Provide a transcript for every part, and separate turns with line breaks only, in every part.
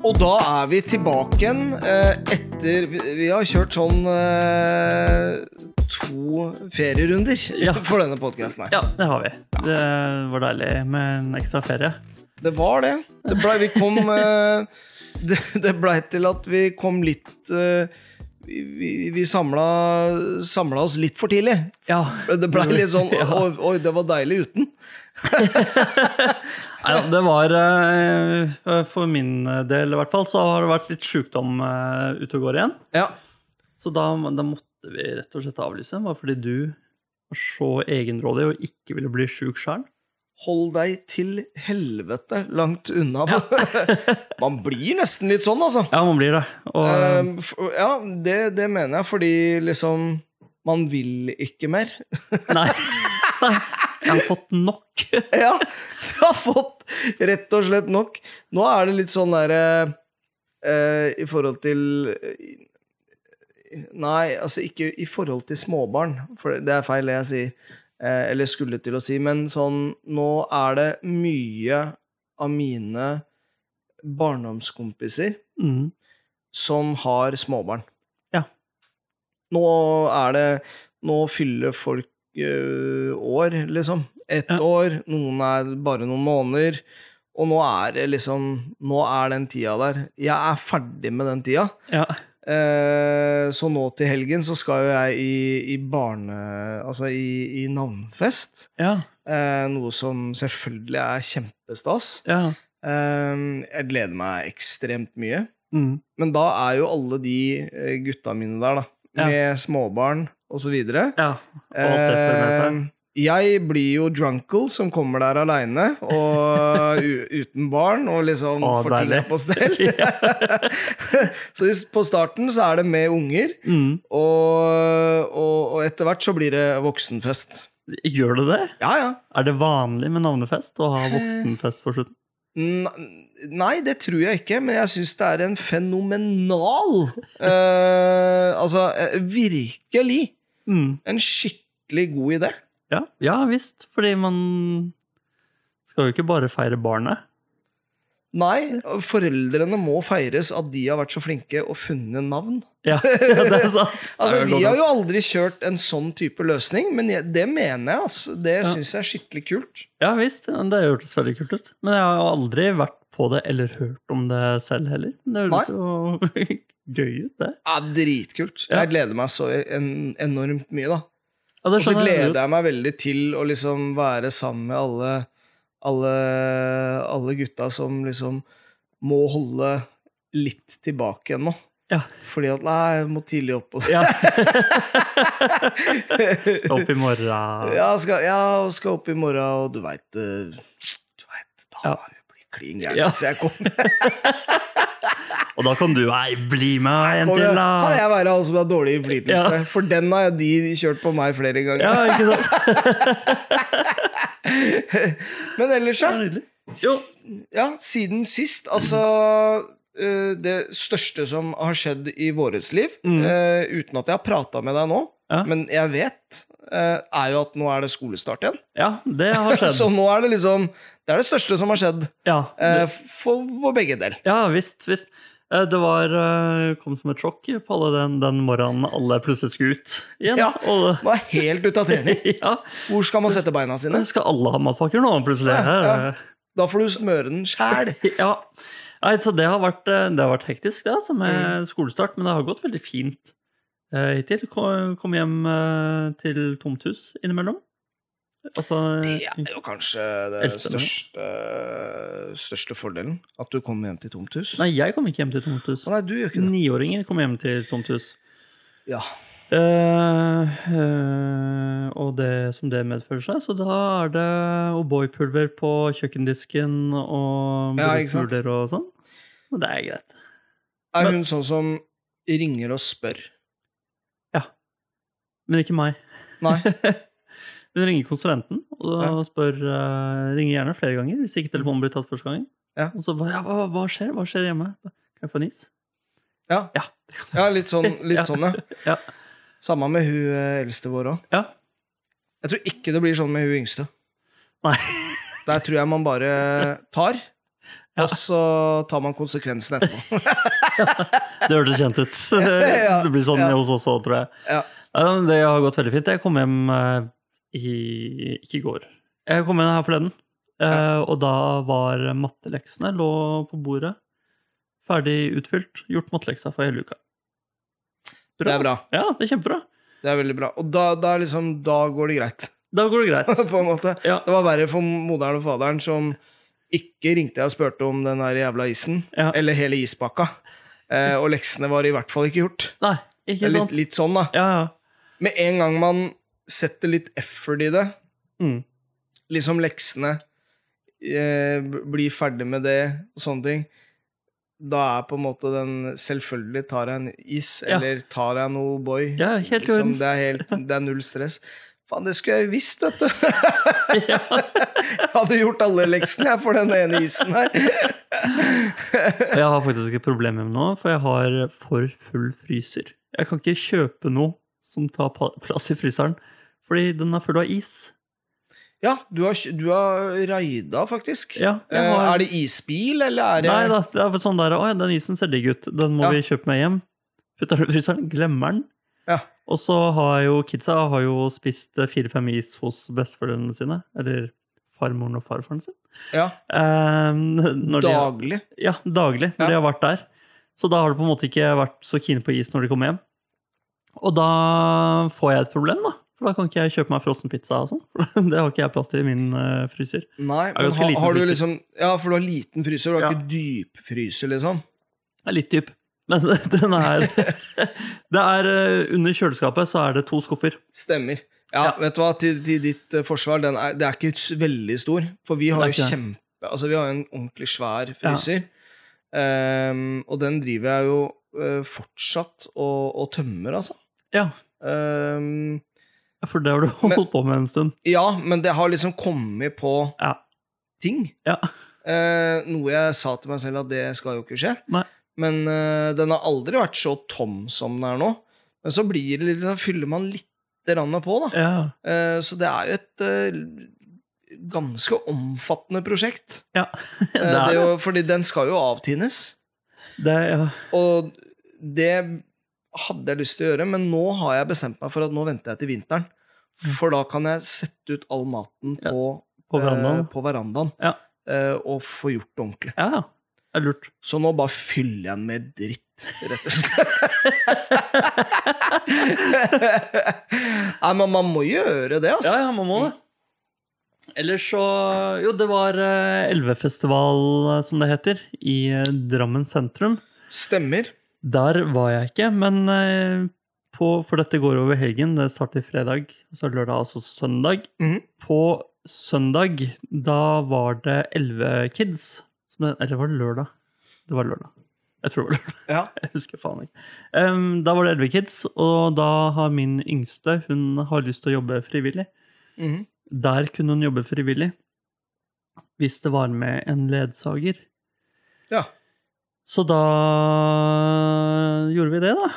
Og da er vi tilbake igjen eh, etter vi- Vi har kjørt sånn eh, to ferierunder
Ja.
for denne podkasten her.
Ja, det har vi. Det var deilig med en ekstra ferie.
Det var det. Det blei vi kom eh, Det, det blei til at vi kom litt eh, Vi, vi- vi samla, samla oss litt for tidlig.
Ja.
Det blei litt sånn
Ja.
oi, oi, det var deilig uten.
Nei, ja, det var eh, For min del i hvert fall, så har det vært litt sjukdom eh, ute og går igjen.
Ja.
Så da, da måtte vi rett og slett avlyse. Bare fordi du var så egenrådig og ikke ville bli sjuk sjøl.
Hold deg til helvete langt unna. Man blir nesten litt sånn, altså.
Ja, man blir det. Og
Ehm, f- ja, det, det mener jeg, fordi liksom Man vil ikke mer.
Nei. Nei. Jeg har fått nok.
ja, du har fått rett og slett nok. Nå er det litt sånn derre eh, I forhold til Nei, altså ikke i forhold til småbarn, for det er feil det jeg sier. Eh, eller skulle til å si. Men sånn, nå er det mye av mine barndomskompiser
Mm.
som har småbarn.
Ja.
Nå er det Nå fyller folk ø, år, liksom. Ett
Ja.
år, noen er bare noen måneder. Og nå er det liksom Nå er den tida der. Jeg er ferdig med den tida.
Ja.
Eh, så nå til helgen så skal jo jeg i, i barne... Altså i, i navnfest.
Ja.
Eh, noe som selvfølgelig er kjempestas.
ja.
Eh, jeg gleder meg ekstremt mye.
Mm.
Men da er jo alle de eh, gutta mine der, da.
Ja.
Med småbarn osv.
ja. Og alt det fører med seg.
eh, Jeg blir jo drunkle som kommer der aleine og u uten barn og liksom
Å,
får ting
deilig.
på stell. så i s- på starten så er det med unger,
Mm.
og, og, og etter hvert så blir det voksenfest.
Gjør du det?
Ja, ja.
Er det vanlig med navnefest å ha voksenfest på slutten?
N- Nei, det tror jeg ikke, men jeg syns det er en fenomenal eh, Altså, eh, virkelig
Mm.
en skikkelig god idé.
Ja. ja visst, fordi man skal jo ikke bare feire barnet.
Nei, foreldrene må feires at de har vært så flinke og funnet navn.
Ja, ja det er sant.
Altså, Vi har jo aldri kjørt en sånn type løsning, men jeg, det mener jeg. Altså. Det
Ja.
syns jeg er skikkelig kult.
Ja visst, det hørtes veldig kult ut. Men jeg har jo aldri vært på det eller hørt om det selv heller. Men Det høres jo gøy ut, det.
Ja, Dritkult.
Ja.
Jeg gleder meg så en, enormt mye, da.
Ja, det
Og så
skjønner jeg.
gleder jeg meg veldig til å liksom være sammen med alle, alle, alle gutta som liksom må holde litt tilbake ennå.
Ja.
Fordi at Nei, jeg må tidlig opp. Og
Ja. Opp i morgen.
ja, skal, ja, og skal opp i morgen, og du veit Du veit, da
Ja.
blir jeg klin gæren.
Ja.
Så jeg kommer
Og da kan du Nei, bli med en
kommer-
til,
Kan
da!
jeg være han som har dårlig innflytelse?
Ja.
For den har de kjørt på meg flere
Ja,
ganger.
ikke sant?
Men ellers, ja.
Nydelig. Jo.
Ja, siden sist. Altså eh, Det største som har skjedd i vårets liv,
Mm.
eh, uten at jeg har prata med deg nå,
Ja.
men jeg vet, eh, er jo at nå er det skolestart igjen.
ja, det har skjedd.
Så nå er det liksom Det er det største som har skjedd
Ja,
eh, for vår begge del.
Ja, visst, visst. Eh, Det var, eh, kom som et sjokk på alle den, den morgenen alle plutselig skulle ut igjen.
Ja.
Og,
Man er helt ute av trening.
ja.
Hvor skal man sette beina sine?
Nå skal alle ha matpakker nå, plutselig.
Ja, Da får du smøre den sjæl.
Eh, ja. Nei, så det har vært, eh, det har vært hektisk, det, altså, med
Mm.
skolestart. Men det har gått veldig fint eh, hittil. Ko- Kom hjem eh, til tomt hus innimellom. Altså
Det er jo kanskje den
Eldste nå.
største, største fordelen. At du kommer hjem til tomt hus.
Nei, jeg kom ikke hjem til tomt hus.
Å, nei, du gjør ikke det.
Niåringer kom hjem til tomt hus.
Ja.
Eh, eh, og det som det medfører seg. Så da er det O'boy-pulver på kjøkkendisken og
Ja, ikke sant?
brødsmuler og sånn. Men det er greit.
Er
Men-
hun sånn som ringer og spør?
Men ikke meg.
Nei.
Hun ringer konsulenten og da spør eh, Ringer gjerne flere ganger hvis ikke telefonen blir tatt første gangen.
Ja.
Og så bare ja, hva, hva skjer? Hva skjer hjemme? Kan jeg få en is?
Ja.
Ja.
Ja, litt sånn, litt
Ja.
sånn ja.
Ja.
Samme med hun eh, eldste vår òg.
ja.
Jeg tror ikke det blir sånn med hun yngste.
Nei.
Der tror jeg man bare tar,
Ja.
Og så tar man konsekvensen etterpå.
Det hørtes kjent ut.
Ja,
Det blir sånn
ja.
hos oss òg, tror jeg.
Ja.
Nei, men Det har gått veldig fint. Jeg kom hjem eh, i ikke i går. Jeg kom hjem her forleden, eh, og da var matteleksene lå på bordet. Ferdig utfylt. Gjort matteleksa for hele uka.
Det er bra.
Ja, det er kjempebra.
Det er veldig bra. Og da, da, er liksom, da går det greit,
Da går det greit.
på en måte.
Ja.
Det var verre for moderen og faderen som ikke ringte jeg og spurte om den der jævla isen,
Ja.
eller hele ispakka. Eh, og leksene var i hvert fall ikke gjort.
Nei,
Det
ikke
er litt,
sant?
litt sånn, da.
Ja, ja.
Med en gang man setter litt effort i det,
Mm.
liksom leksene, eh, b- blir ferdig med det og sånne ting, da er på en måte den Selvfølgelig tar jeg en is,
Ja.
eller tar jeg noe boy.
Ja, helt i
liksom,
orden.
det, er helt, det er null stress. Faen, det skulle jeg visst, vet du!
Ja.
Jeg hadde gjort alle leksene jeg for den ene isen her.
Og Jeg har faktisk et problem hjemme nå, for jeg har for full fryser. Jeg kan ikke kjøpe noe som tar pa- plass i fryseren, fordi den er full av is.
Ja, du har, kj- du har raida, faktisk.
Ja, jeg
Eh,
har...
Er det isbil, eller er det
Nei da, det er vel sånn der Å ja, den isen ser digg ut. Den må
Ja.
vi kjøpe med hjem. Putter den i fryseren, glemmer den.
Ja.
Og så har jo kidsa har jo spist eh, fire-fem is hos besteforeldrene sine. Eller farmoren og farfaren sin.
ja,
Eh, når de,
daglig?
ja, daglig, når
Ja.
de har vært der. Så da har de på en måte ikke vært så kine på is når de kommer hjem. Og da får jeg et problem, da. For da kan ikke jeg kjøpe meg frossenpizza og sånn. For det har ikke jeg plass til i min eh, fryser.
Nei,
er
men
ganske
har,
liten
har du
fryser.
liksom Ja, for du har liten fryser, du har
Ja.
ikke dypfryser, liksom?
Det er litt dyp. Men den er Det er eh, under kjøleskapet så er det to skuffer.
Stemmer. Ja,
Ja.
vet du hva, til, til ditt eh, forsvar, den er, det er ikke s- veldig stor, for vi har
Det er
jo
ikke det.
kjempe Altså, vi har jo en ordentlig svær fryser, Ehm, og den driver jeg jo eh, fortsatt og, og tømmer, altså.
Ja,
Ehm,
for det har du
Men-
holdt på med en stund.
ja, men det har liksom kommet på
Ja.
ting.
Ja.
Eh, noe jeg sa til meg selv at det skal jo ikke skje.
Nei.
Men eh, den har aldri vært så tom som den er nå. Men så blir det litt, sånn- fyller man litt grann på, da.
Ja.
Eh, så det er jo et eh, ganske omfattende prosjekt.
ja.
Eh, det
Det er
er
det.
jo, fordi den skal jo avtines.
det er- ja.
Og det hadde jeg lyst til å gjøre, men nå har jeg bestemt meg for at nå venter jeg til vinteren. For da kan jeg sette ut all maten
Mm. Ja,
på,
På verandaen.
eh, på verandaen
Ja.
eh, og få gjort det ordentlig.
Ja, ja. Det er lurt.
Så nå bare fyller jeg den med dritt, rett og slett. Nei, men man må gjøre det, altså.
ja, man må det. Mm. Ellers så Jo, det var eh, Elvefestival, eh, som det heter, i eh, Drammen sentrum.
Stemmer.
Der var jeg ikke, men eh, på, for dette går over helgen. Det starter fredag, så er det lørdag, altså søndag.
Mhm.
På søndag, da var det elleve kids. Som det, eller var det lørdag? Det var lørdag. Jeg tror det var lørdag.
Ja.
Jeg husker faen ikke. Em, da var det elleve kids, og da har min yngste Hun har lyst til å jobbe frivillig.
Mhm.
Der kunne hun jobbe frivillig hvis det var med en ledsager.
ja.
Så da gjorde vi det, da.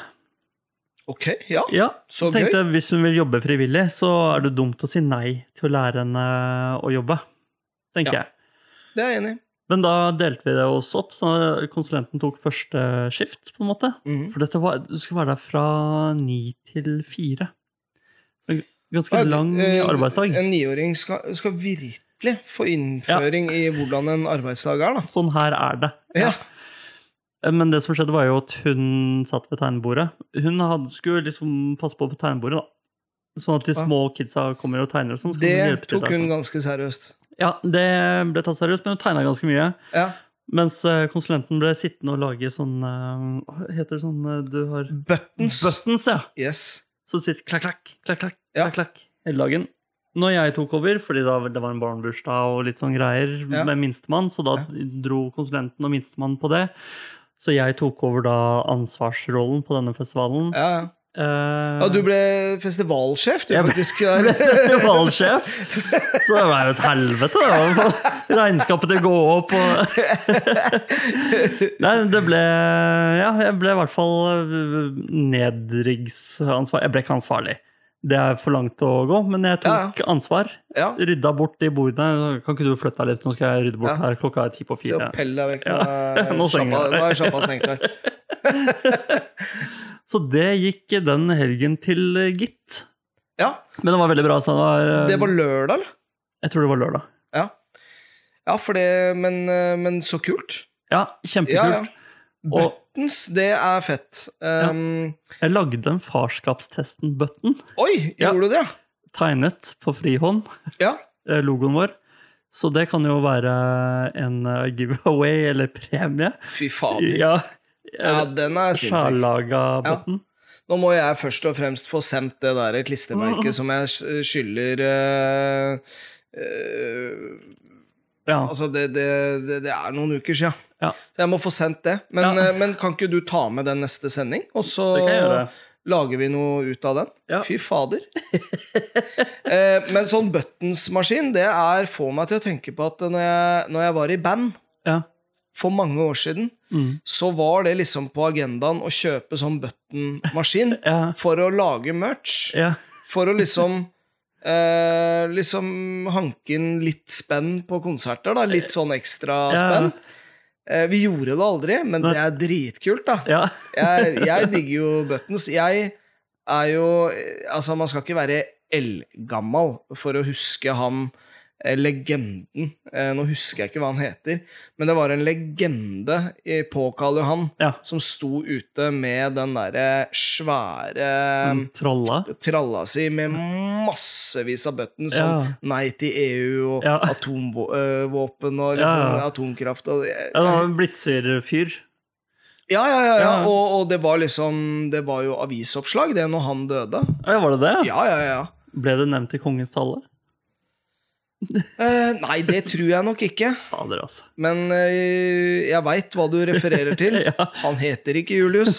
Ok, ja.
Ja,
Så
jeg tenkte
gøy.
jeg, Hvis hun vil jobbe frivillig, så er det dumt å si nei til å lære henne å jobbe. tenker
Ja.
jeg.
Det er jeg enig i.
Men da delte vi det oss opp, så konsulenten tok første skift. på en måte.
Mhm.
For dette var, Du skulle være der fra ni til fire. En Ganske
Ja,
lang
eh,
arbeidsdag.
En niåring skal, skal virkelig få innføring i hvordan en arbeidsdag er, da.
Sånn her er det.
Ja.
Eh, Men det som skjedde, var jo at hun satt ved tegnebordet. Hun hadde, skulle liksom passe på på tegnebordet, da. Sånn at de
Ja.
små kidsa kommer og tegner og sånn. så kan hun hjelpe
Det
til
tok
der,
hun
sånn.
ganske seriøst.
Ja, det ble tatt seriøst, men hun tegna ganske mye.
Ja.
Mens eh, konsulenten ble sittende og lage sånn eh, Hva heter det sånn eh, du har
Buttons.
Buttons, ja.
Yes.
Så sitter klakk, klakk, klakk, klakk,
Ja.
klakk, klakk hele dagen. Når jeg tok over, fordi da det var en barnebursdag og litt sånn greier
Ja.
med minstemann, så da dro konsulenten og minstemann på det. Så jeg tok over da ansvarsrollen på denne festivalen.
Ja, ja.
Eh,
ja, du ble festivalsjef, du,
Jeg ble-
faktisk. eh.
ble
Der.
festivalsjef. Så det var jo et helvete, det. var Regnskapet til å gå opp og Nei, det ble eh, Ja, jeg ble i hvert fall nedriggsansvarlig. Jeg ble ikke ansvarlig, Det er for langt å gå, men jeg tok ansvar.
Ja,
Rydda bort de bordene. Kan ikke du flytte deg litt? Nå skal jeg rydde bort
Ja.
her. Klokka er ti på
Se og
fire.
pell deg vekk.
Ja.
Nå
Nå
er sjappa-
stenger jeg.
nå er sjappa stengt her.
Så det gikk den helgen til eh, gitt.
Ja,
Men det var veldig bra. Så det var, eh,
det var lørdag, eller?
jeg tror det var lørdag.
Ja, ja for det Men, eh, men så kult.
Ja,
Ja, ja.
kjempekult. Og
Buttons, det er fett. Um,
jeg lagde en farskapstesten-button.
Oi,
Ja.
gjorde du det?
Tegnet på frihånd.
Ja.
eh, Logoen vår. Så det kan jo være en eh, giveaway eller premie.
Fy fader. Ja,
Ja.
den er sinnssyk.
Sjællaga button.
Nå må jeg først og fremst få sendt det der klistremerket
Mm.
som jeg s- skylder eh, eh,
Ja.
Altså, det, det, det, det er noen uker sia.
Ja.
Så jeg må få sendt det. Men,
Ja.
eh, men kan ikke du ta med den neste sending, og så
Det kan jeg gjøre.
lager vi noe ut av den?
Ja.
Fy fader. eh, men sånn buttonsmaskin, det er, får meg til å tenke på at når jeg, når jeg var i band
Ja.
for mange år siden,
Mm.
så var det liksom på agendaen å kjøpe sånn buttonmaskin
ja.
for å lage merch.
ja.
For å liksom eh, Liksom hanke inn litt spenn på konserter, da. Litt sånn ekstra
Ja.
spenn. Eh, vi gjorde det aldri, men det er dritkult, da.
ja.
Jeg, jeg digger jo buttons. Jeg er jo Altså, man skal ikke være eldgammal for å huske han eh, legenden eh, Nå husker jeg ikke hva han heter, men det var en legende i- på Karl Johan
ja.
som sto ute med den derre svære
Mm, Trolla.
tralla si med massevis av buttons som
Ja.
nei til EU og
Ja.
atomvåpen og liksom,
Ja, ja.
atomkraft og
Ja, det
Ja,
var en blitzer-fyr.
ja, ja. ja,
Ja.
Og, og det var liksom Det var jo avisoppslag, det, når han døde.
Ja, var det det?
Ja, ja, ja.
Ble det nevnt i kongens tale?
Eh, nei, det tror jeg nok ikke.
Fader, altså.
Men eh, jeg veit hva du refererer til.
Ja.
Han heter ikke Julius.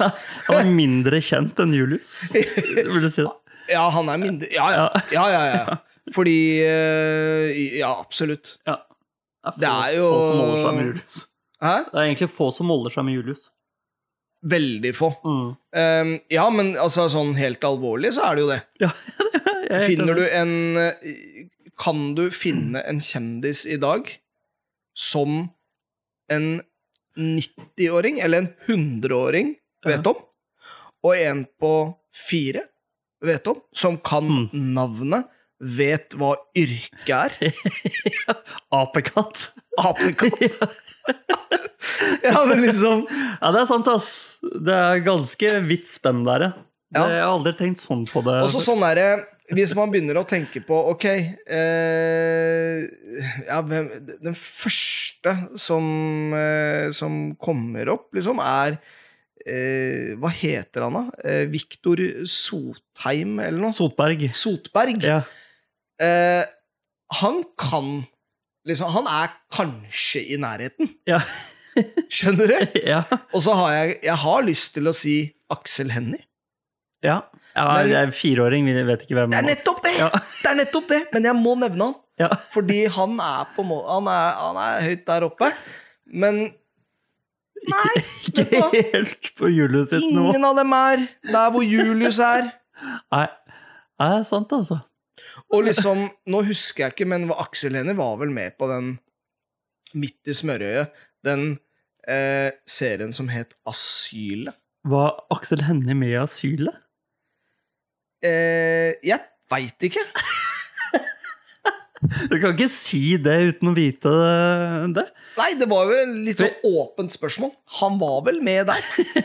Han er mindre kjent enn Julius, vil du si det?
Ja, han er mindre Ja, ja. ja, ja, ja. Fordi eh, Ja, absolutt.
Ja.
Det er jo-
få som holder seg med Julius.
Hæ?
Det er egentlig få som holder seg med Julius.
Veldig få.
Mm.
Ehm, ja, men altså, sånn helt alvorlig så er det jo det. Finner du en eh, Kan du finne en kjendis i dag som en 90-åring eller en 100-åring vet om, og en på fire vet om, som kan
Mm.
navnet, vet hva yrket er?
Apekatt.
Apekatt?
ja.
Ja, men liksom
ja, det er sant, ass. Det er ganske vidt spenn der, ja.
Ja.
Det- Jeg har aldri tenkt sånn på det.
Og så sånn er det Hvis man begynner å tenke på Ok eh, ja, hvem, Den første som, eh, som kommer opp liksom, Er eh, Hva heter han da? Eh, Victor Sotheim Eller noe?
Sotberg.
Sotberg
Ja.
eh, Han kan liksom, Han er kanskje i nærheten
Ja.
Skjønner du?
ja.
Og så har jeg, jeg har lyst til å si Aksel Hennie
ja.
Men-
Jeg er en fireåring, vi vet ikke hvem
Det er
han er.
nettopp det!
Ja.
Det er nettopp det, men jeg må nevne han.
Ja.
Fordi han er, på må han, er, han er høyt der oppe. Men Nei, vet du
Ikke
hva?
helt på Julius sitt nivå.
Ingen av dem er der hvor Julius er.
Nei. Nei, det er sant, altså.
Og liksom, nå husker jeg ikke, men hva- Aksel Hennie var vel med på den midt i smørøyet, den eh, serien som het Asylet.
Var Aksel Hennie med i asylet?
Eh, jeg veit ikke.
Du kan ikke si det uten å vite det.
Nei, det var jo et litt sånn åpent spørsmål. Han var vel med der.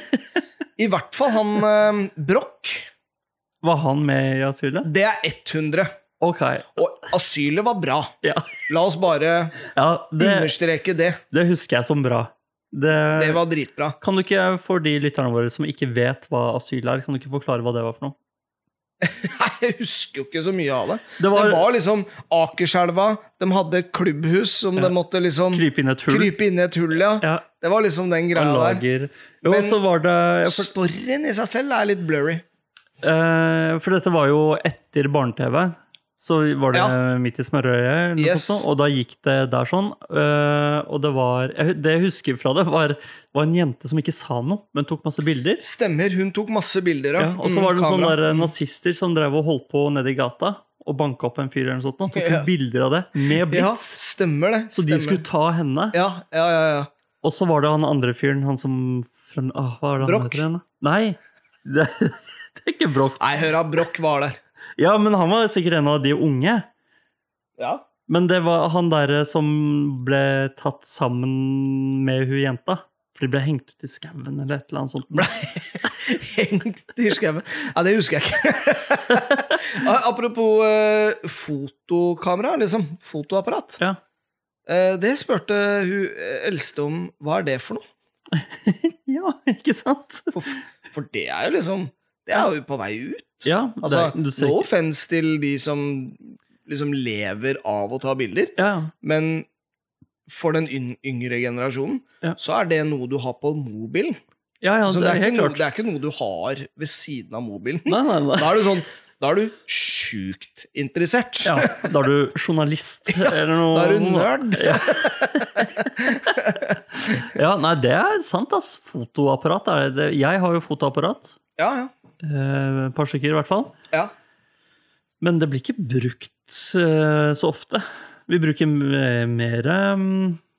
I hvert fall han eh, Broch.
Var han med i asylet?
Det er 100.
Ok.
Og asylet var bra.
Ja,
La oss bare
ja det,
understreke det.
det husker jeg som bra.
Det
Det,
var dritbra.
kan du ikke, for de lytterne våre som ikke vet hva asyl er, kan du ikke forklare hva det var for noe?
Nei, Jeg husker jo ikke så mye av det.
Det var,
det var liksom Akerselva. De hadde klubbhus som de måtte liksom
krype inn i et hull.
krype inn i et hull, ja.
Ja,
Det var liksom den
og
greia der.
lager. Jo,
Men-
så var det jeg for,
Storyen i seg selv er litt blurry.
eh, for dette var jo etter barne-TV, Så var det midt i smørøyet, eller noe
Yes.
sånt, og da gikk det der sånn. eh, og det var jeg hu- Det jeg husker fra det, var, var en jente som ikke sa noe, men tok masse bilder.
Stemmer, hun tok masse bilder av
Ja, og så var det
mm,
sånne
kamera.
der eh, nazister som drev og holdt på nede i gata og banka opp en fyr eller noe sånt. Og tok
Ja.
bilder av det med
Ja,
blits.
stemmer det.
så
stemmer.
de skulle ta henne.
Ja, ja, ja. ja.
Og så var det han andre fyren, han som frem, ah, Hva er det han
Broch?
heter igjen, da? Nei, det, det er ikke Broch.
Nei, hør da, Broch var der.
Ja, men han var sikkert en av de unge.
Ja.
Men det var han derre som ble tatt sammen med hun jenta. For de ble hengt ut i skauen eller et eller annet sånt.
Hengt i skauen. Ja, det husker jeg ikke. Apropos eh, fotokamera, liksom. Fotoapparat.
Ja.
Eh, det spurte hun eh, eldste om hva er det for noe.
Ja, ikke sant?
For, for det er jo liksom Det er jo på vei ut.
Ja,
altså,
det, du ser
no
ikke-
offense til de som liksom lever av å ta bilder,
Ja,
men for den yn yngre generasjonen
Ja.
så er det noe du har på mobilen.
ja, ja
så
det, er
ikke
helt
noe,
klart.
det er ikke noe du har ved siden av mobilen.
Nei, nei, nei.
Da er du sånn Da er du sjukt interessert.
Ja, da er du journalist eller noe.
Da er du nerd.
Ja, nei, det er sant, ass. Fotoapparat er det. Jeg har jo fotoapparat.
Ja, ja.
Eh, Et par stykker, i hvert fall.
ja.
Men det blir ikke brukt eh, så ofte. Vi bruker m- mer eh,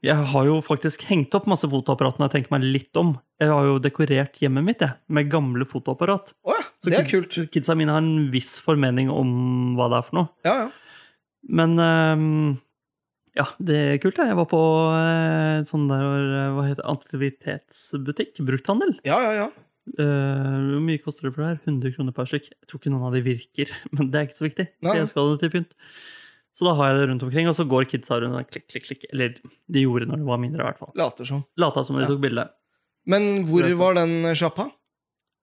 Jeg har jo faktisk hengt opp masse fotoapparat når jeg tenker meg litt om. Jeg har jo dekorert hjemmet mitt jeg, med gamle fotoapparat.
Å ja.
Så
Det er
kid-
kult.
Kidsa mine har en viss formening om hva det er for noe.
Ja, ja.
Men ehm, ja, det er kult. da. Jeg var på eh, sånn der eh, hva heter det, aktivitetsbutikk, brukthandel.
ja, ja, ja.
Eh, hvor mye koster det for det her? 100 kroner per stykk. Jeg tror ikke noen av de virker, men det er ikke så viktig.
Nei.
for Jeg skal ha det til pynt. Så da har jeg det rundt omkring, og så går kidsa rundt og klikk, klikk, klikk. Eller de gjorde når de var mindre, i hvert fall.
Later som.
Lata som de
Ja.
tok bilde.
Men hvor
Det er sant.
var den sjappa?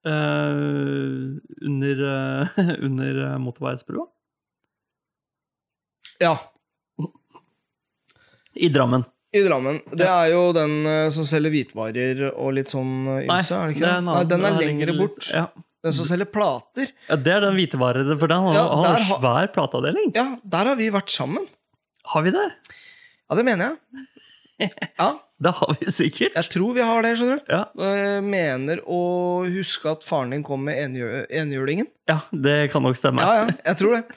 Eh, under eh, under eh, motorveisbrua.
Ja,
I Drammen.
i Drammen. Det er jo den eh, som selger hvitvarer og litt sånn eh, ymse, er det ikke? Det
det en annen-
Nei, den er
den
lengre
litt-
bort.
Ja.
Den som selger plater.
Ja, det er den hvitevare, for den har,
Ja,
han har
der har-
svær plateavdeling.
Ja, der har vi vært sammen.
Har vi det?
Ja, det mener jeg. Ja,
Det har vi sikkert.
jeg tror vi har det, skjønner du.
Ja,
Eh, Mener å huske at faren din kom med enhjø- enhjulingen.
ja det kan nok stemme.
Ja, ja, jeg tror det.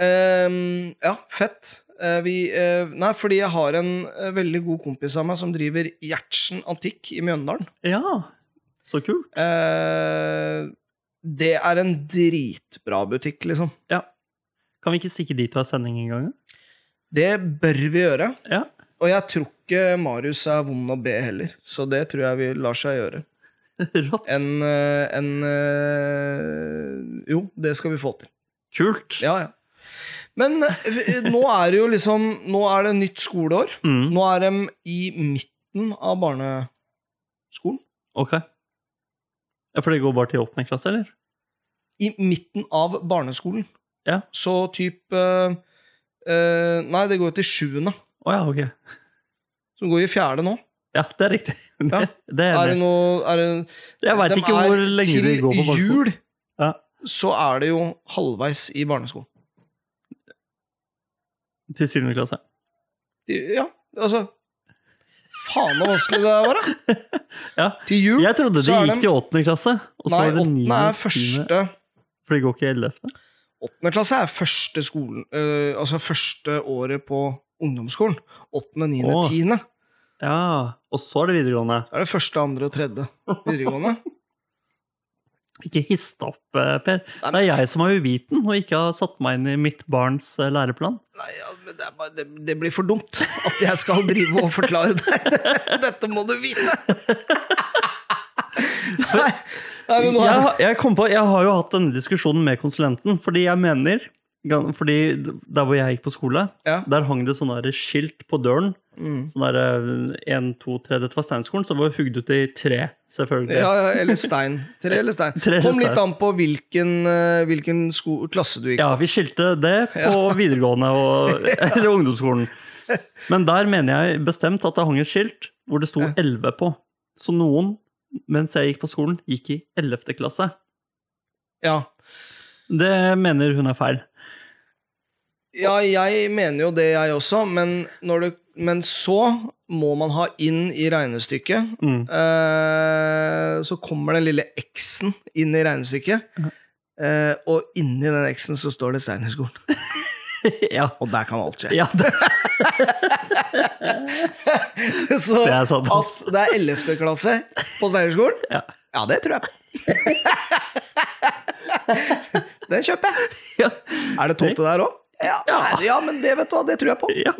Ehm, ja, fett. Eh, vi, eh, nei, fordi jeg har en eh, veldig god kompis av meg som driver Gjertsen Antikk i Mjøndalen.
Ja, så kult.
Eh, det er en dritbra butikk, liksom.
Kan vi ikke stikke dit og ha sending en gang?
Det bør vi gjøre.
Ja.
Og jeg tror ikke Marius er vond å be heller, så det tror jeg vi lar seg gjøre.
Rått.
En, eh, en eh, Jo, det skal vi få til.
Kult.
Ja, ja. Men eh, nå er det jo liksom Nå er det nytt skoleår.
Mm,
Nå er de i midten av barneskolen.
ok. Ja, for det går bare til åttende klasse, eller?
I midten av barneskolen.
Ja.
Så type Nei, det går jo til sjuende.
Å ja, ok.
Som går i fjerde nå.
Ja, det er riktig.
Ja.
Det, det er
Er det
enig.
noe er det,
Jeg veit
de
ikke
er
hvor lenge de går på
Til
barneskolen.
jul
Ja.
så er det jo halvveis i barneskolen.
Til syvende klasse.
De, ja, altså Faen så vanskelig det var, da!
Ja.
Til jul
Jeg trodde de
så er
gikk
de-
til åttende klasse. Og så
Nei,
var det
åttende
niende,
er
tiende.
første
For de går ikke i ellevte?
Åttende klasse er første skolen eh, Altså første året på ungdomsskolen. Åttende, niende,
Åh.
tiende.
Ja. Og så er det videregående.
Da er det første, andre og tredje videregående.
Ikke hiss deg opp, eh, Per.
Nei,
Det
men-
er jeg som er uviten og ikke har satt meg inn i mitt barns eh, læreplan.
Nei, ja, men det, er bare, det, det blir for dumt at jeg skal drive og forklare deg. Dette må du vite! Nei, nei men nå
jeg,
er
har- jeg, kom på, jeg har jo hatt denne diskusjonen med konsulenten, fordi jeg mener gan- fordi Der hvor jeg gikk på skole,
Ja.
der hang det sånne der skilt på døren.
Mm.
Sånn der, eh, en, to, tre, Dette var steinskolen, så det var hugd ut i tre, selvfølgelig.
ja, ja, eller stein. Tre eller stein.
Tre eller
Kom litt
stein.
an på hvilken, eh, hvilken sko klasse du gikk i.
Ja, vi skilte det på videregående og eller ungdomsskolen. Men der mener jeg bestemt at det hang et skilt hvor det sto
Ja.
11 på. Så noen, mens jeg gikk på skolen, gikk i 11. klasse.
Ja.
Det mener hun er feil.
Ja, jeg mener jo det, jeg også, men, når det, men så må man ha inn i regnestykket
Mm.
Eh, så kommer den lille X-en inn i regnestykket. Eh, og inni den X-en så står det Steinerskolen.
ja.
Og der kan alt skje.
ja det,
så
det er sant. ass.
at det er 11. klasse på Steinerskolen,
Ja.
ja, det tror jeg på. den kjøper jeg.
Ja.
Er det tolvte der òg? Ja,
Ja.
nei, ja, men det vet du hva, det tror jeg på.
ja.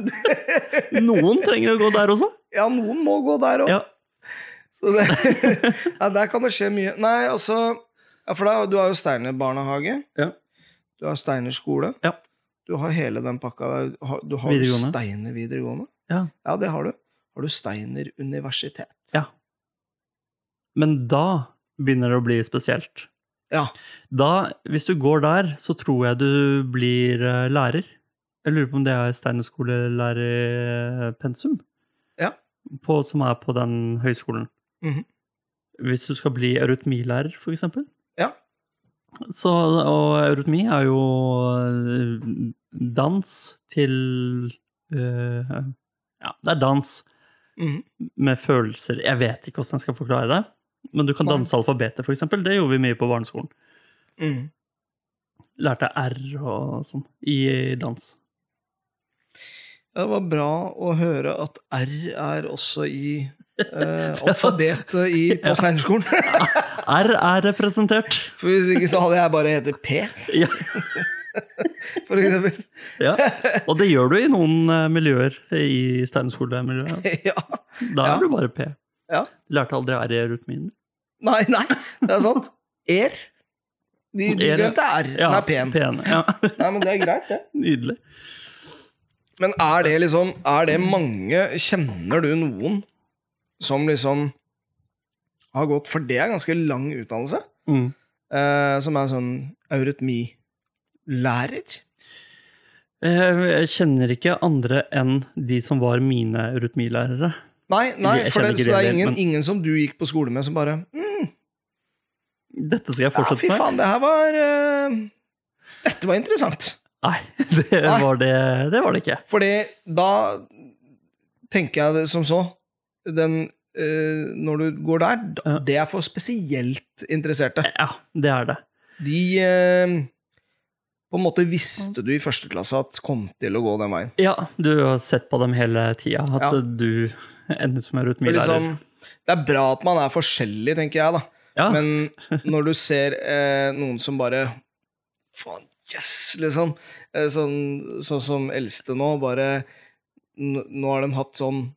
Noen trenger å gå der også.
Ja, noen må gå der òg.
Ja.
Så det, ja, der kan det skje mye. Nei, altså ja, For da, du har jo Steiner barnehage.
Ja.
Du har Steiner skole.
Ja.
Du har hele den pakka der. Du har, du har jo
Videregående.
Steiner videregående.
Ja.
det har du. Har du Steiner universitet.
Ja. Men da begynner det å bli spesielt.
Ja.
Da, hvis du går der, så tror jeg du blir eh, lærer. Jeg lurer på om det er steinerskolelærerpensum
Ja.
på, som er på den høyskolen.
Mhm.
Hvis du skal bli eurytmilærer, for eksempel.
Ja.
Så, og eurytmi er jo eh, dans til eh, Ja, det er dans
Mhm.
med følelser. Jeg vet ikke hvordan jeg skal forklare det. Men du kan
Nei.
danse alfabetet, for eksempel. Det gjorde vi mye på barneskolen.
Mhm.
Lærte R og sånn i dans.
Det var bra å høre at R er også i eh, alfabetet i, på
Ja.
Steinerskolen.
R er representert.
For hvis ikke så hadde jeg bare hett P,
Ja,
for eksempel.
ja. Og det gjør du i noen eh, miljøer, i steinerskolemiljøet.
ja.
Da
Ja.
er du bare P.
Ja.
Du lærte aldri R i rytmen.
Nei, nei, det er sant. Er. De, de
Er, ja.
glemte R. Den er pen.
pen. Ja,
Nei, men det er greit, det.
Nydelig.
Men er det liksom Er det mange Kjenner du noen som liksom har gått For det er ganske lang utdannelse,
Mm.
eh, som er sånn eurytmilærer.
Jeg Eh, jeg kjenner ikke andre enn de som var mine rytmilærere.
Nei, nei
Jeg
for
kjenner
det,
ikke
så det
det
er
heller,
ingen,
men-
ingen som du gikk på skole med, som bare mm,
Dette skal jeg
Ja,
fortsette
fy
med.
faen, det her var eh, Dette var interessant.
Nei, det
Nei.
var det, det var det ikke.
Fordi da tenker jeg det som så den, eh, Når du går der, da-
Ja.
det er for spesielt interesserte.
Ja, det er det.
De eh, På en måte visste du i første klasse at kom til å gå den veien.
Ja, du har sett på dem hele tida, at
Ja.
du ender som en
Det er,
rytmilærer.
liksom, det er bra at man er forskjellig, tenker jeg, da.
ja,
Men når du ser eh, noen som bare Faen, yes! Liksom. Eh, sånn, sånn som eldste nå, bare n- Nå har de hatt sånn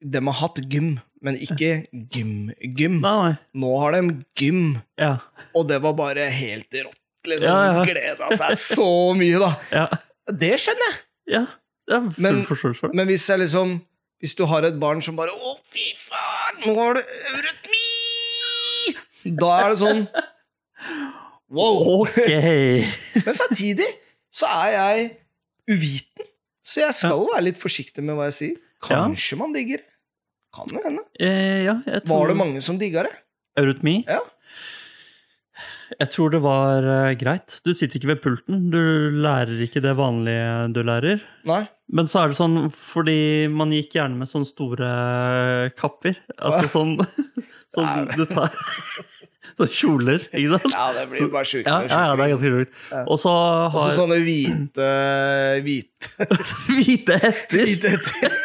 De har hatt gym, men ikke gym-gym.
nei, nei.
Nå har de gym,
Ja,
og det var bare helt rått. Liksom.
Ja, ja.
Gleda seg så mye, da.
ja,
Det skjønner jeg.
ja. Det er full
Men-
forståelse for det.
Men hvis jeg liksom Hvis du har et barn som bare Å, fy faen, nå har du eurytmi! Da er det sånn Wow.
Ok! Eh,
Men samtidig så er jeg uviten, så jeg skal være litt forsiktig med hva jeg sier. Kanskje man digger det. Kan jo hende.
Eh, ja, jeg tror
Var det mange som digga det?
Eurytmi?
Ja.
Jeg tror det var eh, greit. Du sitter ikke ved pulten. Du lærer ikke det vanlige du lærer.
Nei.
Men så er det sånn, fordi man gikk gjerne med sånne store kapper. Altså sånn, sånn
Nei.
du tar Sånne kjoler, ikke sant?
Ja, det blir jo bare sjukere
Ja,
og
ja, ja, det er
sjukere.
ganske sjukt.
Ja.
Og
Og
så
så
har
Altså sånne hvite Hvite
hvite hetter.
hvite etter.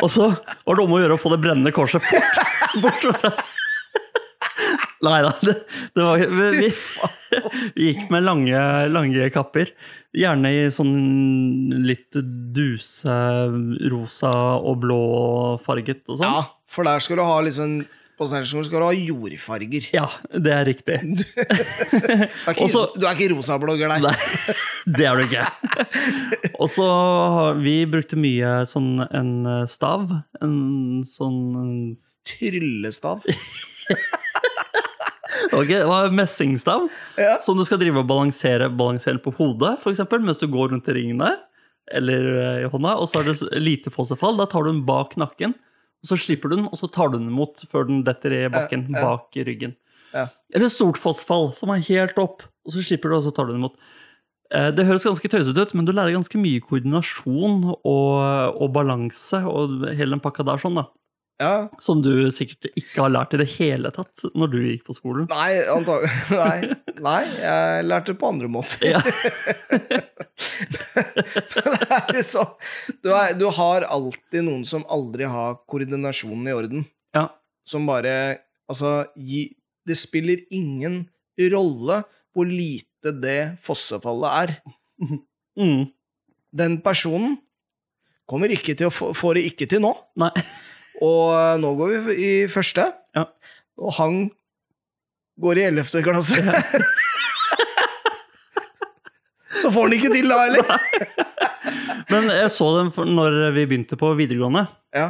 Og så var det om å gjøre å få det brennende korset fort bort. fra- Nei da, det, det var vi, vi gikk med lange, lange kapper. Gjerne i sånn litt duse, rosa og blå farget og
Ja,
sånn.
for der skal du ha liksom På Steinerskolen skal du ha jordfarger.
Ja, det er riktig.
Du er ikke,
Også-
du er ikke rosablogger, nei.
Nei, det er du ikke. Og så har vi brukte mye sånn en stav. En sånn
Tryllestav.
Ok, det var en messingstav
Ja.
som du skal drive og balansere, balansere på hodet, for eksempel, mens du går rundt i ringen der, eller eh, i hånda, og så er det s- lite fossefall. Da tar du den bak nakken, og så slipper du den, og så tar du den imot før den detter i bakken,
Ja, ja.
bak i ryggen.
Ja.
Eller stort fossefall, som er helt opp, og så slipper du, og så tar du den imot. Eh, Det høres ganske tøysete ut, men du lærer ganske mye koordinasjon og, og balanse og hele den pakka der, sånn da.
Ja.
Som du sikkert ikke har lært i det hele tatt når du gikk på skolen.
Nei, antagelig. Nei. Nei, jeg lærte det på andre måter.
Ja.
Men det er liksom du, er, du har alltid noen som aldri har koordinasjonen i orden.
Ja.
Som bare Altså, gi, det spiller ingen rolle hvor lite det fossefallet er.
Mm.
Den personen kommer ikke til å få får det ikke til nå.
Nei.
Og eh, nå går vi i første.
Ja.
Og han går i ellevte klasse. Så får han ikke til da, eller?
Men jeg så den for når vi begynte på videregående.
Ja,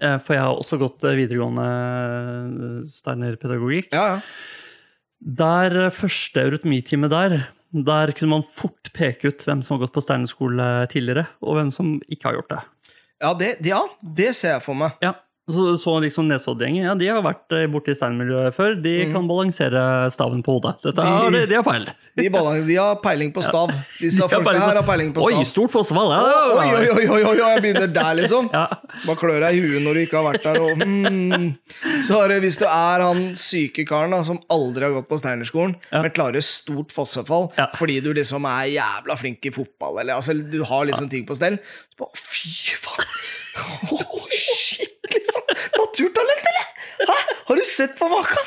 eh, For jeg har også gått eh, videregående eh, Steiner-pedagogikk.
ja, ja.
Der eh, første eurytmitime der, der kunne man fort peke ut hvem som har gått på Steiner-skole tidligere, og hvem som ikke har gjort det.
Ja, det, det- ja, det ser jeg for meg.
Ja, så, så liksom Nesoddgjengen, ja, de har vært eh, borti steinmiljøet før. De
Mm.
kan balansere staven på hodet. Dette
De-
har de, de har peil.
De, ballan- de har peiling på stav. Disse
har
folka
peiling på-
her har peiling på
Oi,
stav.
stort fossefall! Ja,
Oi,
ja,
oi,
ja.
oi, oi, oi, jeg begynner der, liksom.
Ja,
Bare klør deg i huet når du ikke har vært der. Og, mm. Så er det, hvis du er han syke karen da, som aldri har gått på Steinerskolen, men klarer stort fossefall
Ja.
fordi du liksom er jævla flink i fotball, eller altså, du har liksom ting på stell så bare, Fy faen! Åh, shit, liksom! Naturtalent, eller? Hæ? Har du sett på maken?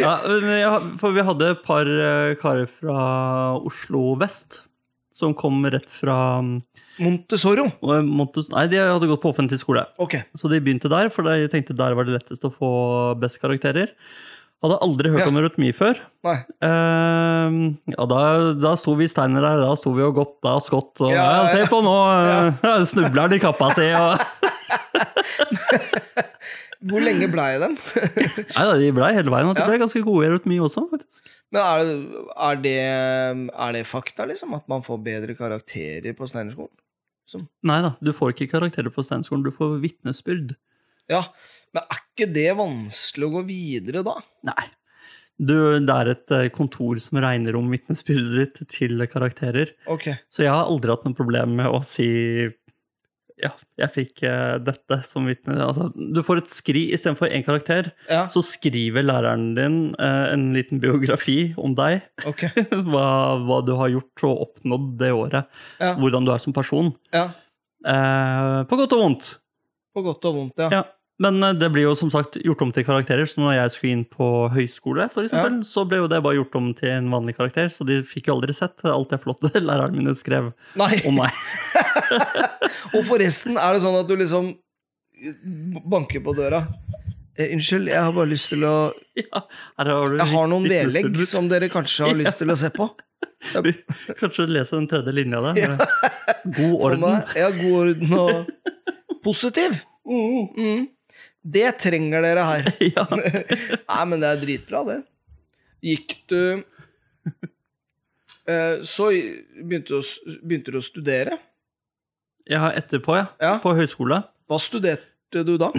ja, men jeg- for vi hadde et par eh, karer fra Oslo vest som kom rett fra mm,
Montessoro.
Montes... Nei, de hadde gått på offentlig skole.
Ok.
Så de begynte der, for de tenkte der var det lettest å få best karakterer. Hadde aldri hørt
Ja.
om eurytmi før.
Nei.
Ehm, ja, da, da sto vi steiner der, da sto vi og godt, da skott. Og, ja,
Ja, ja.
Se på nå, eh, ja. snubler han i kappa si. Og,
Hvor lenge blei dem?
nei, da, de ble hele veien. Og de
Ja.
ble ganske gode i eurytmi også, faktisk.
Men er, er, det, er det fakta, liksom? At man får bedre karakterer på Steinerskolen?
Nei da, du får ikke karakterer på steinskolen, du får vitnesbyrd.
Ja, men er ikke det vanskelig å gå videre da?
Nei. Du, det er et eh, kontor som regner om vitnesbyrdet ditt til karakterer.
Ok.
Så jeg har aldri hatt noe problem med å si ja, jeg fikk eh, dette som vitne. Altså, du får et skri istedenfor én karakter.
Ja,
Så skriver læreren din eh, en liten biografi om deg.
ok.
Hva, hva du har gjort og oppnådd det året.
Ja.
Hvordan du er som person.
Ja,
Eh, på godt og vondt.
på godt og vondt, ja.
Ja. Men eh, det blir jo som sagt gjort om til karakterer. Så når jeg skulle inn på høyskole, for eksempel, så ble jo det bare gjort om til en vanlig karakter. Så de fikk jo aldri sett alt det flotte læreren min skrev
Nei,
om meg.
og forresten er det sånn at du liksom banker på døra. Eh, unnskyld, jeg har bare lyst til å...
Ja, her har du
Jeg har noen
vitnesbyrd.
vedlegg som dere kanskje har lyst til å se på. Så jeg
Kanskje lese den tredje linja der. God
får
orden.
meg- Ja, god orden og positiv. Mm. Det trenger dere her.
Ja.
Nei, men det er dritbra, det. Gikk du eh, Så begynte du, å, s- begynte du å studere.
Jeg har etterpå, ja.
Ja.
På høyskole.
Hva studerte du da?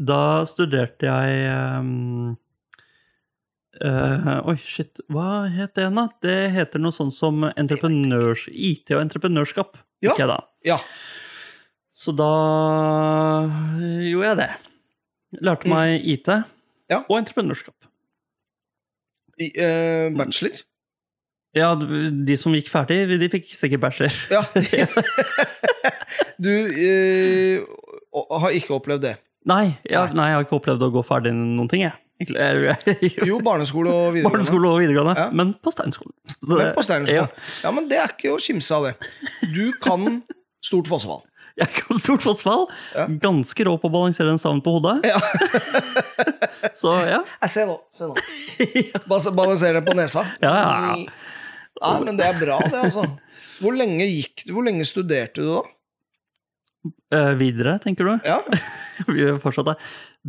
Da studerte jeg ehm, eh, Oi, shit. Hva het det igjen, da? Det heter noe sånt som entreprenørs, IT og entreprenørskap.
Ja.
Ikke jeg, da.
Ja.
Så da gjorde jeg det. Lærte
Mm.
meg IT
Ja.
og entreprenørskap.
I, eh, bachelor?
Ja, de som gikk ferdig, de fikk sikkert bachelor.
Ja. du eh, å- har ikke opplevd det.
Nei, ja, nei, jeg har ikke opplevd å gå ferdig noen ting, jeg. Egentlig, jeg, jeg
Jo, barneskole og videregående.
Barneskole og videregående,
Ja.
men på Steinskolen. Så
Men
det-
på
Ja,
Steinerskolen. Ja, men det er ikke å kimse av, det. Du kan stort fossefall.
jeg kan stort fossfall.
Ja.
Ganske rå på å balansere en stavn på hodet.
Ja.
Så ja.
Jeg ser nå. Se nå. Bas- Balanserer deg på nesa.
Ja, ja, ja.
Nei, men det er bra, det, altså. Hvor lenge, gikk, du- hvor lenge studerte du da?
Eh, videre, tenker du?
Ja,
Vi fortsatt der.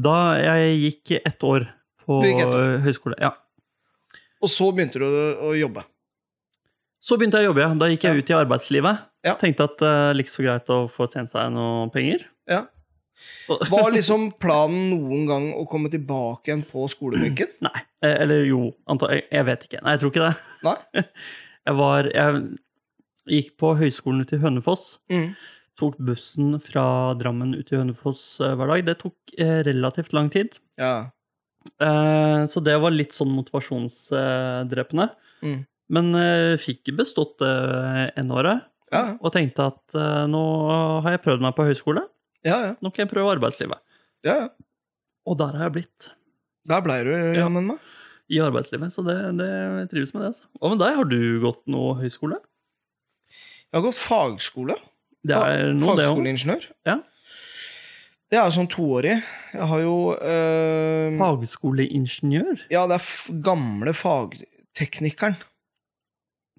Da jeg gikk ett år på
Du gikk ett
eh, høyskole, ja.
Og så begynte du å, å jobbe.
Så begynte jeg å jobbe, ja. Da gikk jeg
Ja.
ut i arbeidslivet. eh,
Ja.
Tenkte at uh, like så greit å få tjent seg noen penger.
Ja. Var liksom planen noen gang å komme tilbake igjen på skolebenken?
Nei. Eh, Eller jo, anta- jeg- jeg vet ikke. Nei, jeg tror ikke det.
Nei?
Jeg var Jeg gikk på høyskolen ute i Hønefoss.
Mm.
Tok bussen fra Drammen ut til Hønefoss eh, hver dag. Det tok eh, relativt lang tid.
Ja.
Eh, Så det var litt sånn motivasjonsdrepende.
Mm.
Men eh, fikk bestått det N-året,
Ja,
og tenkte at eh, nå har jeg prøvd meg på høyskole,
ja. ja,
nå kan jeg prøve arbeidslivet.
ja, ja.
Og der har jeg blitt.
Der blei du
Ja.
jammen meg.
I arbeidslivet, så det, det jeg trives med det. altså. Hva med deg, har du gått noe høyskole?
Jeg har gått fagskole.
Det er noe, det òg.
Fagskoleingeniør.
Ja.
Det er jo sånn toårig. Jeg har jo eh,
Fagskoleingeniør?
Ja, det er f gamle fagteknikeren.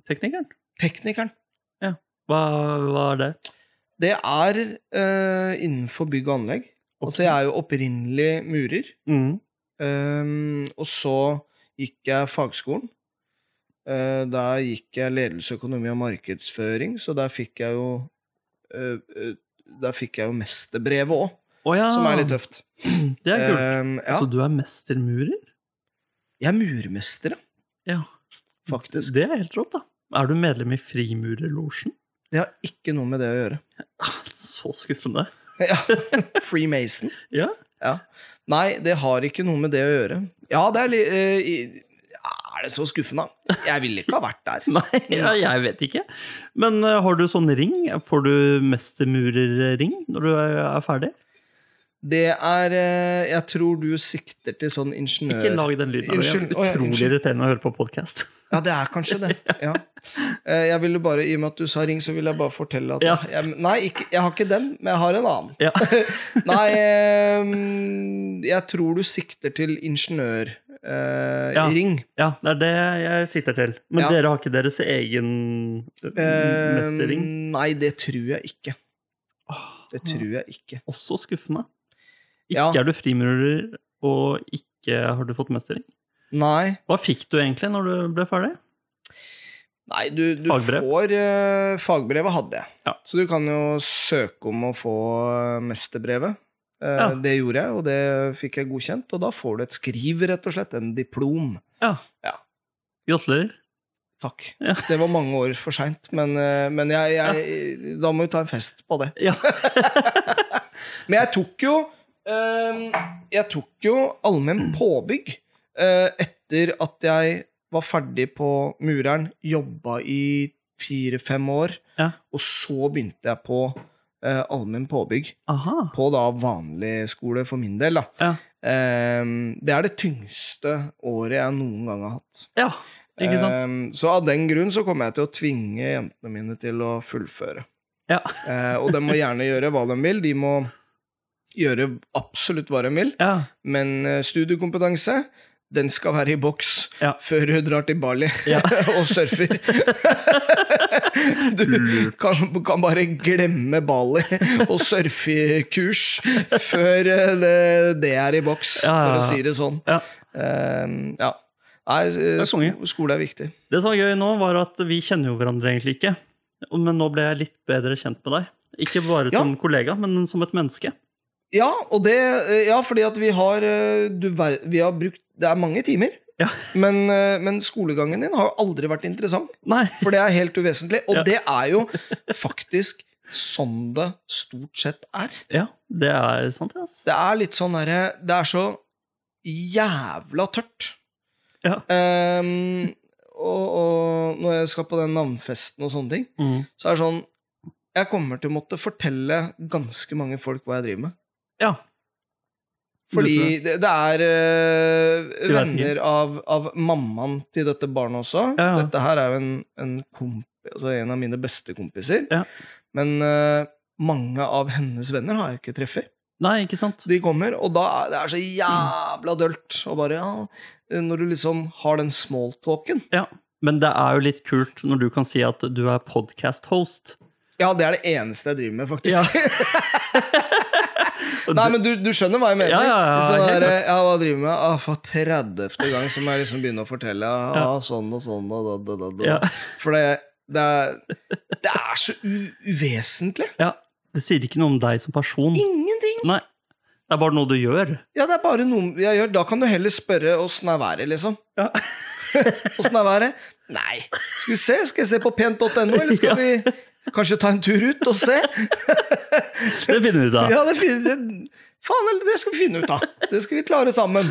Teknikeren?
Teknikeren.
Hva, hva er det?
Det er eh, innenfor bygg og anlegg. Altså, jeg er jo opprinnelig murer.
Mm.
Ehm, og så gikk jeg fagskolen. Eh, der gikk jeg ledelse, økonomi og markedsføring, så der fikk jeg jo eh, eh, Der fikk jeg jo mesterbrevet òg,
Å ja,
som er litt tøft.
Ah, Det er kult.
Ehm, ja.
Så du er mestermurer?
Jeg er murmester, ja,
Ja.
faktisk.
Det er helt rått, da. Er du medlem i Frimurerlosjen?
Det har ikke noe med det å gjøre.
Ah, Så skuffende.
ja. Freemason.
Ja.
Ja. Nei, det har ikke noe med det å gjøre. Ja, det er litt Er det så skuffende? Jeg ville ikke ha vært der.
Nei, ja, jeg vet ikke. Men eh, har du sånn ring? Får du mestermurerring når du er, er ferdig?
Det er eh, Jeg tror du sikter til sånn ingeniør...
Ikke lag den lyden. Unnskyld.
Unnskyld. Å, ja,
Utrolig
unnskyld.
irriterende å høre på podkast.
Ja, det er kanskje det. Ja. Eh, Jeg ville bare, I og med at du sa ring, så vil jeg bare fortelle at
Ja.
jeg, Nei, ikke, jeg har ikke den, men jeg har en annen.
Ja.
Nei, eh, jeg tror du sikter til ingeniørring. Eh,
Ja.
ring.
ja, det er det jeg sikter til. Men
Ja.
dere har ikke deres egen eh,
Eh,
mesterring?
Nei, det tror jeg ikke.
Åh,
Det tror jeg ikke.
Også skuffende. Ikke
Ja.
er du frimurer, og ikke har du fått mestering.
Nei.
Hva fikk du egentlig når du ble ferdig?
Nei, du, du
Fagbrev?
får eh, Fagbrevet hadde jeg.
Ja.
Så du kan jo søke om å få eh, mesterbrevet. Eh,
Ja.
Det gjorde jeg, og det fikk jeg godkjent. Og da får du et skriv, rett og slett. En diplom.
Gratulerer.
Takk.
Ja.
Det var mange år for seint, men, eh, men jeg, jeg, da må vi ta en fest på det.
Ja.
Men jeg tok jo eh, Jeg tok jo allmenn påbygg eh, etter at jeg var ferdig på Mureren, jobba i fire-fem år,
Ja.
og så begynte jeg på eh, allmenn påbygg
Aha.
på da vanlig skole for min del. da.
Ja.
Eh, det er det tyngste året jeg noen gang har hatt.
Ja, ikke sant?
Eh, så av den grunn så kommer jeg til å tvinge jentene mine til å fullføre.
Ja.
Eh, og de må gjerne gjøre hva de vil. De må gjøre absolutt hva de vil,
Ja.
men eh, studiekompetanse, den skal være i boks
Ja.
før du drar til Bali
Ja.
og surfer. du
Lurt.
kan, kan bare glemme Bali og surfekurs før eh, det, det er i boks,
Ja, ja,
for
ja.
å si det sånn.
Ja.
Eh, ja. Nei, eh,
er
sko
konge.
skole er viktig.
Det som var gøy nå, var at vi kjenner jo hverandre egentlig ikke. Men nå ble jeg litt bedre kjent med deg. Ikke bare
Ja.
som kollega, men som et menneske.
Ja, og det, eh, ja, fordi at vi har, eh, du, ver- vi har brukt Det er mange timer.
Ja.
Men, eh, men skolegangen din har jo aldri vært interessant.
Nei.
For det er helt uvesentlig. Og
Ja.
det er jo faktisk sånn det stort sett er.
Ja, det er sant, det, altså.
Det er litt sånn derre Det er så jævla tørt.
Ja.
Ehm, og, og når jeg skal på den navnfesten og sånne ting,
Mm.
så er det sånn Jeg kommer til å måtte fortelle ganske mange folk hva jeg driver med.
Ja.
Fordi
Lurt
det, det er eh,
Du er
venner av, av mammaen til dette barnet også.
Ja, ja.
Dette her er jo en, en, komp altså en av mine beste kompiser.
Ja.
Men eh, mange av hennes venner har jeg ikke treffet.
Nei, ikke sant?
De kommer, og da er det er så jævla dølt. Og bare, ja, når du liksom har den smalltalken.
Men det er jo litt kult når du kan si at du er podcast-host.
Ja, det er det eneste jeg driver med, faktisk.
Ja. Og
Nei,
du-
men du, du skjønner hva jeg mener.
Ja, ja, ja,
sånn
helt
der, ja, hva driver jeg med? Ah, for 30. gang så må jeg liksom begynne å fortelle. Ja,
Ja.
ah, sånn og sånn og da, da, da, da.
Ja.
For det, det, er, det er så u uvesentlig.
Det sier ikke noe om deg som person.
Ingenting!
Nei, Det er bare noe du gjør.
Ja, det er bare noe jeg gjør. Da kan du heller spørre åssen er været, liksom.
Ja.
Åssen er været? Nei. Skal vi se? Skal jeg se på pent.no, eller skal vi kanskje ta en tur ut og se?
Det finner vi ut av.
Ja, det finner det, Faen, eller det skal vi finne ut av. Det skal vi klare sammen.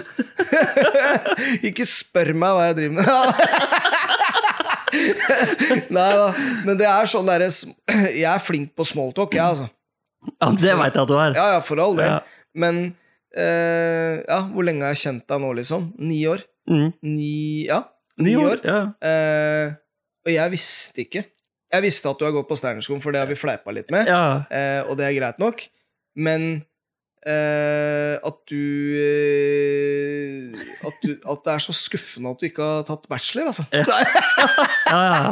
Ikke spør meg hva jeg driver med. Nei da. Men det er sånn derre sm- Jeg er flink på smalltalk, jeg, altså.
Ja, det veit jeg at du er.
Ja, ja, for all del.
Ja.
Men eh, ja, hvor lenge har jeg kjent deg nå, liksom? Ni år?
Mm.
Ni Ja, ni år.
Ja.
Eh, og jeg visste ikke. Jeg visste at du har gått på Steinerskolen, for det har vi fleipa litt med.
ja.
Eh, og det er greit nok. Men eh, at du eh, at, du, at det er så skuffende at du ikke har tatt bachelor, altså.
ja, ja.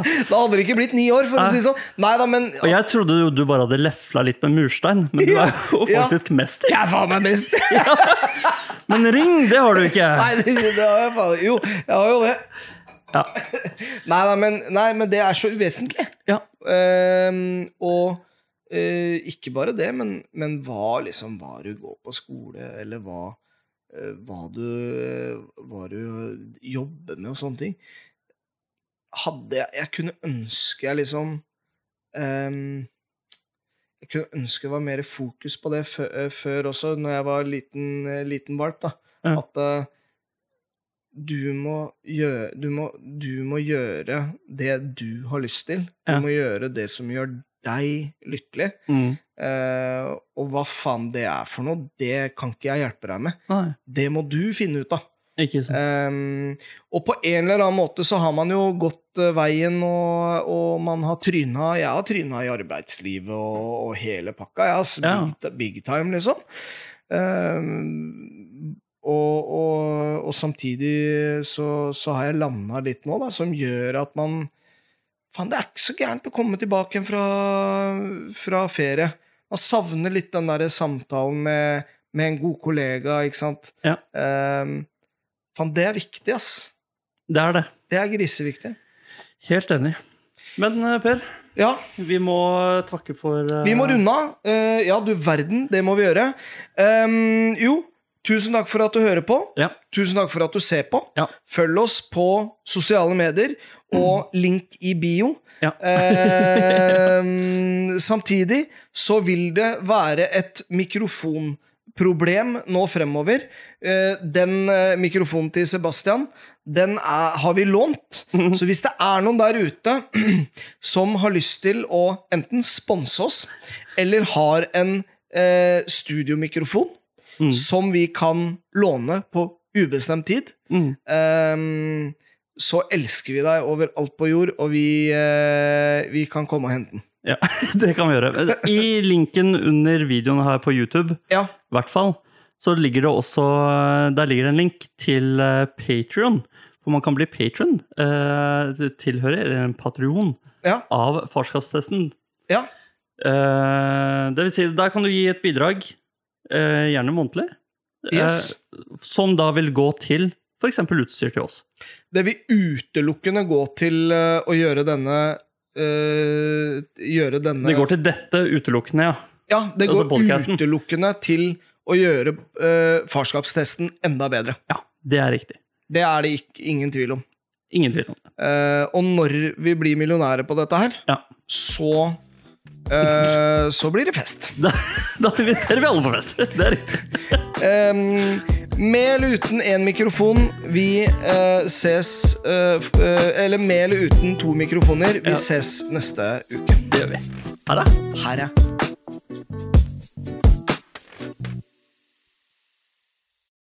Da hadde det ikke blitt ni år, for å
Nei.
si det sånn. Nei da, men
Og jeg trodde jo du bare hadde lefla litt med murstein, men du er jo
Ja.
faktisk mester.
Jeg er faen meg best!
Men ring, det har du ikke!
Nei, det, det har jeg faen Jo, jeg har jo det.
Ja.
Nei, nei, men, nei, men det er så uvesentlig.
Ja.
Ehm, og eh, ikke bare det, men, men hva liksom hva du går på skole, eller hva, eh, hva, du, eh, hva du jobber med og sånne ting. Hadde jeg Jeg kunne ønske jeg liksom ehm, Jeg kunne ønske det var mer fokus på det før, eh, før også, når jeg var liten, eh, liten valp. da
Ja.
At eh, du må, gjøre, du, må, du må gjøre det du har lyst til. Du
Ja.
må gjøre det som gjør deg lykkelig.
Mm.
Eh, og hva faen det er for noe, det kan ikke jeg hjelpe deg med.
Nei,
Det må du finne ut av.
ikke sant.
Ehm, og på en eller annen måte så har man jo gått eh, veien, og, og man har tryna Jeg har tryna i arbeidslivet og, og hele pakka. Jeg har
Ja.
big, big time, liksom. Ehm, og, og, og samtidig så, så har jeg landa litt nå, da, som gjør at man Faen, det er ikke så gærent å komme tilbake igjen fra, fra ferie. Man savner litt den derre samtalen med, med en god kollega, ikke sant.
Ja.
Ehm, Faen, det er viktig, ass.
Det er det.
Det er griseviktig.
Helt enig. Men eh, Per,
Ja,
vi må takke for eh,
vi må runde av. Eh, ja, du verden, det må vi gjøre. Ehm, jo, tusen takk for at du hører på.
Ja.
Tusen takk for at du ser på.
Ja.
Følg oss på sosiale medier og link i bio.
ja.
Eh, Ehm, samtidig så vil det være et mikrofonproblem nå fremover. Eh, den eh, mikrofonen til Sebastian, den er, har vi lånt. Så hvis det er noen der ute som har lyst til å enten sponse oss, eller har en eh, studiomikrofon
Mm.
som vi kan låne på ubestemt tid,
Mm.
Ehm, så elsker vi deg over alt på jord, og vi, eh, vi kan komme og hente den.
Ja, det kan vi gjøre. I linken under videoen her på YouTube,
Ja,
i hvert fall, så ligger det også eh, Der ligger det en link til Patrion. Hvor man kan bli patron, eh, tilhører, eller en patrion,
ja,
av farskapstesten.
ja.
Eh, det vil si, der kan du gi et bidrag, eh, gjerne månedlig, eh,
Yes.
som da vil gå til f.eks. utstyr til oss.
Det vil utelukkende gå til eh, å gjøre denne eh, Gjøre denne
Det går til dette utelukkende, ja.
Ja, det
altså
går
podcasten.
utelukkende til å gjøre eh, farskapstesten enda bedre.
Ja, Det er riktig.
Det er det ikke, ingen tvil om.
Ingen tvil om det.
Eh, og når vi blir millionærer på dette her,
Ja.
så eh, Så blir det fest.
Da, da inviterer vi alle på fest. Det er riktig.
Ehm, med eller uten én mikrofon, vi eh, ses eh, f- eh, Eller med eller uten to mikrofoner, vi
Ja.
ses neste uke.
Det gjør vi. Ha det.
Her, ja.